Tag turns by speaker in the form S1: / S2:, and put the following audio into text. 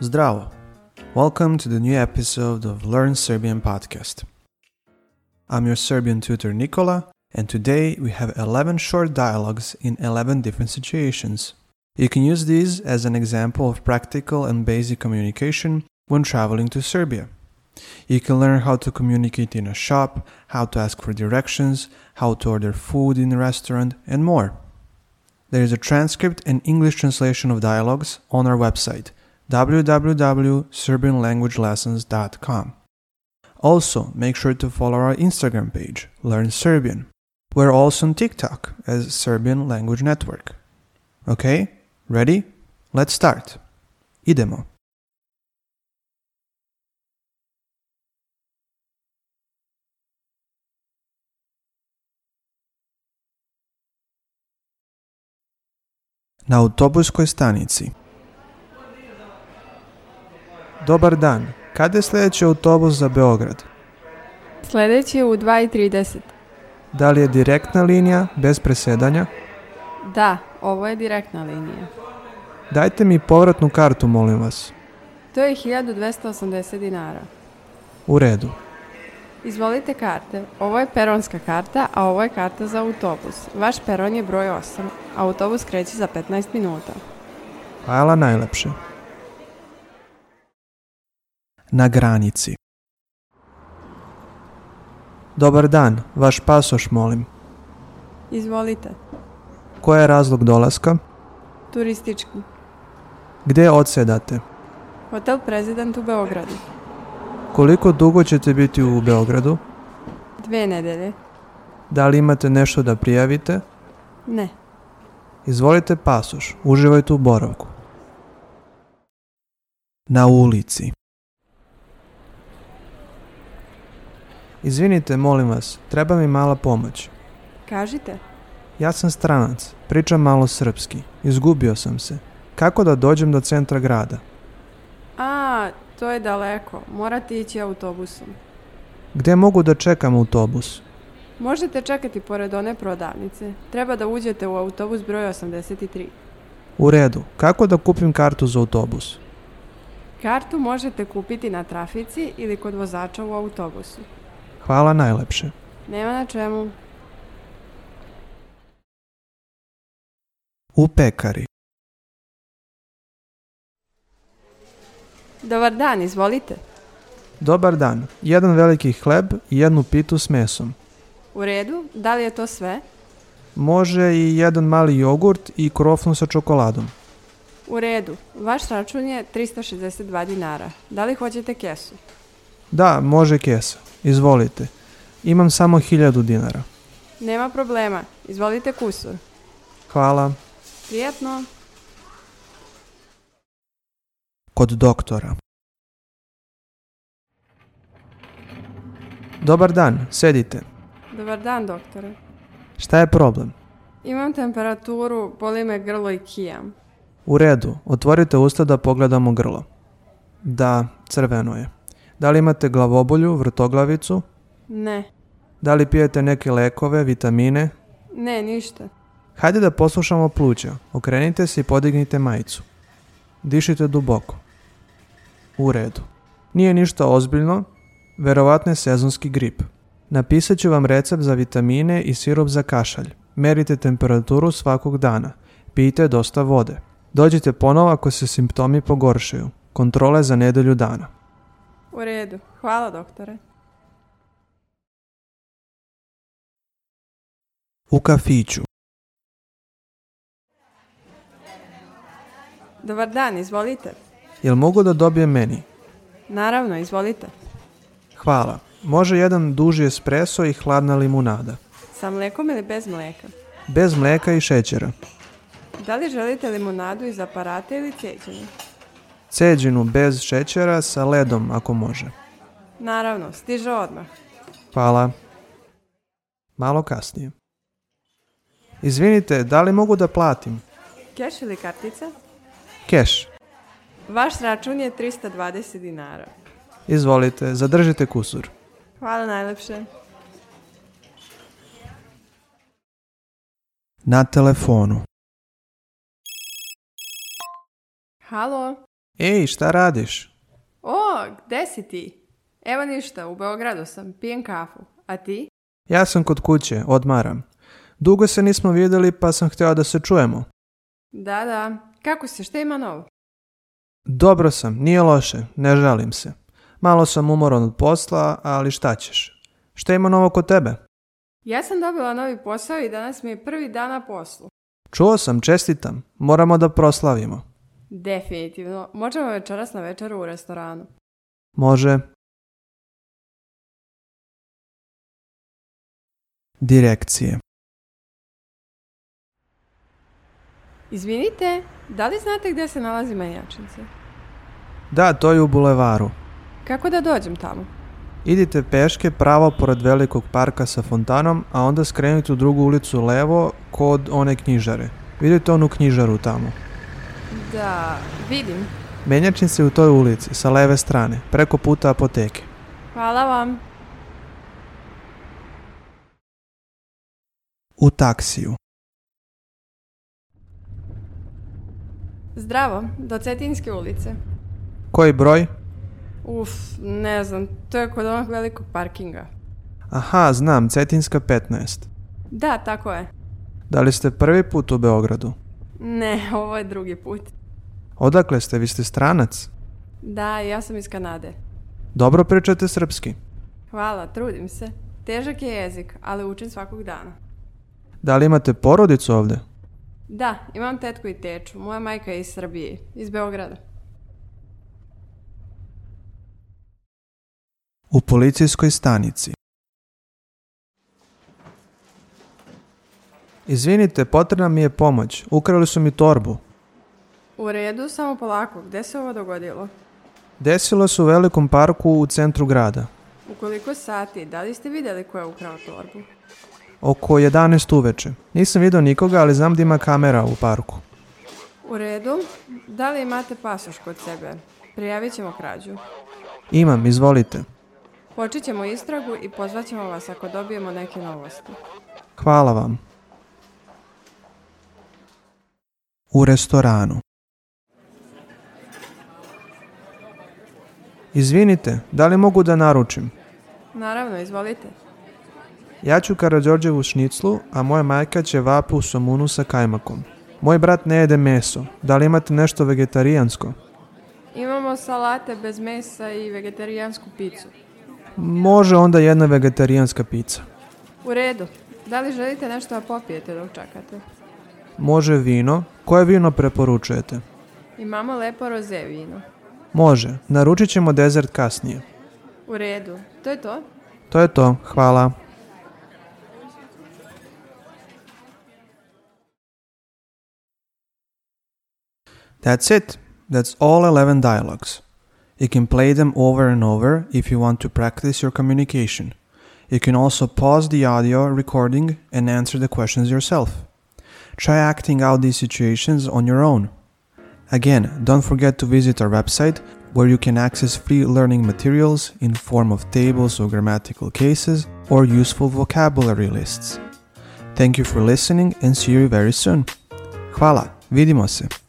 S1: Zdravo! Welcome to the new episode of Learn Serbian podcast. I'm your Serbian tutor Nikola, and today we have 11 short dialogues in 11 different situations. You can use these as an example of practical and basic communication when traveling to Serbia. You can learn how to communicate in a shop, how to ask for directions, how to order food in a restaurant, and more. There is a transcript and English translation of dialogues on our website www.serbianlanguagelessons.com. Also, make sure to follow our Instagram page, Learn Serbian. We're also on TikTok as Serbian Language Network. Okay, ready? Let's start. Idemo. Na autobuskoj stanici. Dobar dan. Kada je sljedeći autobus za Beograd?
S2: Sljedeći je u 2.30.
S1: Da li je direktna linija bez presedanja?
S2: Da, ovo je direktna linija.
S1: Dajte mi povratnu kartu, molim vas.
S2: To je 1280 dinara.
S1: U redu.
S2: Izvolite karte. Ovo je peronska karta, a ovo je karta za autobus. Vaš peron je broj 8. Autobus kreće za 15 minuta.
S1: Hvala najlepše. Na granici. Dobar dan, vaš pasoš molim.
S2: Izvolite.
S1: Koji je razlog dolaska?
S2: Turistički.
S1: Gdje odsedate?
S2: Hotel Prezident u Beogradu.
S1: Koliko dugo ćete biti u Beogradu?
S2: Dve nedelje.
S1: Da li imate nešto da prijavite?
S2: Ne.
S1: Izvolite pasoš, uživajte u boravku. Na ulici. Izvinite, molim vas, treba mi mala pomoć.
S2: Kažite.
S1: Ja sam stranac, pričam malo srpski, izgubio sam se. Kako da dođem do centra grada?
S2: A, to je daleko. Morate ići autobusom.
S1: Gdje mogu da čekam autobus?
S2: Možete čekati pored one prodavnice. Treba da uđete u autobus broj 83.
S1: U redu, kako da kupim kartu za autobus?
S2: Kartu možete kupiti na trafici ili kod vozača u autobusu.
S1: Hvala najlepše.
S2: Nema na čemu.
S1: U pekari.
S2: Dobar dan, izvolite.
S1: Dobar dan, jedan veliki hleb i jednu pitu s mesom.
S2: U redu, da li je to sve?
S1: Može i jedan mali jogurt i krofnu sa čokoladom.
S2: U redu, vaš račun je 362 dinara. Da li hoćete kesu?
S1: Da, može kesa. Izvolite. Imam samo hiljadu dinara.
S2: Nema problema, izvolite kusur.
S1: Hvala.
S2: Prijetno.
S1: Kod doktora. Dobar dan, sedite.
S2: Dobar dan, doktore.
S1: Šta je problem?
S2: Imam temperaturu, boli me grlo i kijam.
S1: U redu, otvorite usta da pogledamo grlo. Da, crveno je. Da li imate glavobolju, vrtoglavicu?
S2: Ne,
S1: Da li pijete neke lekove, vitamine?
S2: ne, ništa.
S1: Hajde da poslušamo pluća. Okrenite se i podignite majicu. Dišite duboko. U redu. Nije ništa ozbiljno, verovatno je sezonski grip. Napisat ću vam recept za vitamine i sirup za kašalj. Merite temperaturu svakog dana. Pijte dosta vode. Dođite ponovo ako se simptomi pogoršaju. Kontrole za nedelju dana.
S2: U redu, hvala doktore.
S1: U kafiću.
S2: Dobar dan, izvolite.
S1: Jel mogu da dobijem meni?
S2: Naravno, izvolite.
S1: Hvala. Može jedan duži espresso i hladna limunada.
S2: Sa mlekom ili bez mleka?
S1: Bez mleka i šećera.
S2: Da li želite limonadu iz aparata ili cijeđenje?
S1: Ceđinu bez šećera sa ledom ako može.
S2: Naravno, stiže odmah.
S1: Hvala. Malo kasnije. Izvinite, da li mogu da platim?
S2: Keš ili kartica?
S1: Keš.
S2: Vaš račun je 320 dinara.
S1: Izvolite, zadržite kusur.
S2: Hvala najlepše.
S1: Na telefonu.
S2: Halo,
S1: Ej, šta radiš?
S2: O, gde si ti? Evo ništa, u Beogradu sam, pijem kafu. A ti?
S1: Ja sam kod kuće, odmaram. Dugo se nismo vidjeli pa sam htjela da se čujemo.
S2: Da, da. Kako si, šta ima novo?
S1: Dobro sam, nije loše, ne žalim se. Malo sam umoran od posla, ali šta ćeš? Šta ima novo kod tebe?
S2: Ja sam dobila novi posao i danas mi je prvi dan na poslu.
S1: Čuo sam, čestitam. Moramo da proslavimo.
S2: Definitivno. Možemo večeras na večeru u restoranu.
S1: Može. Direkcije.
S2: Izvinite, da li znate gdje se nalazi menjačnica?
S1: Da, to je u bulevaru.
S2: Kako da dođem tamo?
S1: Idite peške pravo pored velikog parka sa fontanom, a onda skrenite u drugu ulicu levo kod one knjižare. Vidite onu knjižaru tamo.
S2: Da, vidim.
S1: Menjačnica je u toj ulici, sa leve strane, preko puta apoteke.
S2: Hvala vam.
S1: U taksiju.
S2: Zdravo, do Cetinske ulice.
S1: Koji broj?
S2: Uf, ne znam, to je kod onog velikog parkinga.
S1: Aha, znam, Cetinska 15.
S2: Da, tako je.
S1: Da li ste prvi put u Beogradu?
S2: Ne, ovo je drugi put.
S1: Odakle ste, vi ste stranac?
S2: Da, ja sam iz Kanade.
S1: Dobro pričate srpski.
S2: Hvala, trudim se. Težak je jezik, ali učim svakog dana.
S1: Da li imate porodicu ovdje?
S2: Da, imam tetku i teču. Moja majka je iz Srbije, iz Beograda.
S1: U policijskoj stanici. Izvinite, potrebna mi je pomoć. Ukrali su mi torbu.
S2: U redu, samo polako. Gde se ovo dogodilo?
S1: Desilo se u velikom parku u centru grada.
S2: U koliko sati? Da li ste vidjeli ko je ukrao torbu?
S1: Oko 11 uveče. Nisam vidio nikoga, ali znam da ima kamera u parku.
S2: U redu. Da li imate pasoš kod sebe? Prijavit ćemo krađu.
S1: Imam, izvolite.
S2: Počet ćemo istragu i pozvat ćemo vas ako dobijemo neke novosti.
S1: Hvala vam. U restoranu. Izvinite, da li mogu da naručim?
S2: Naravno, izvolite.
S1: Ja ću Karadžorđevu šniclu, a moja majka će vapu u somunu sa kajmakom. Moj brat ne jede meso. Da li imate nešto vegetarijansko?
S2: Imamo salate bez mesa i vegetarijansku picu.
S1: Može onda jedna vegetarijanska pizza.
S2: U redu. Da li želite nešto da popijete dok čekate?
S1: Može vino. Koje vino preporučujete?
S2: Imamo lepo roze vino.
S1: Može. Naručit ćemo dezert kasnije.
S2: U redu. To je to?
S1: To je to. Hvala. That's it. That's all 11 dialogues. You can play them over and over if you want to practice your communication. You can also pause the audio recording and answer the questions yourself. Try acting out these situations on your own. Again, don't forget to visit our website where you can access free learning materials in form of tables or grammatical cases or useful vocabulary lists. Thank you for listening and see you very soon. Hvala, vidimo se.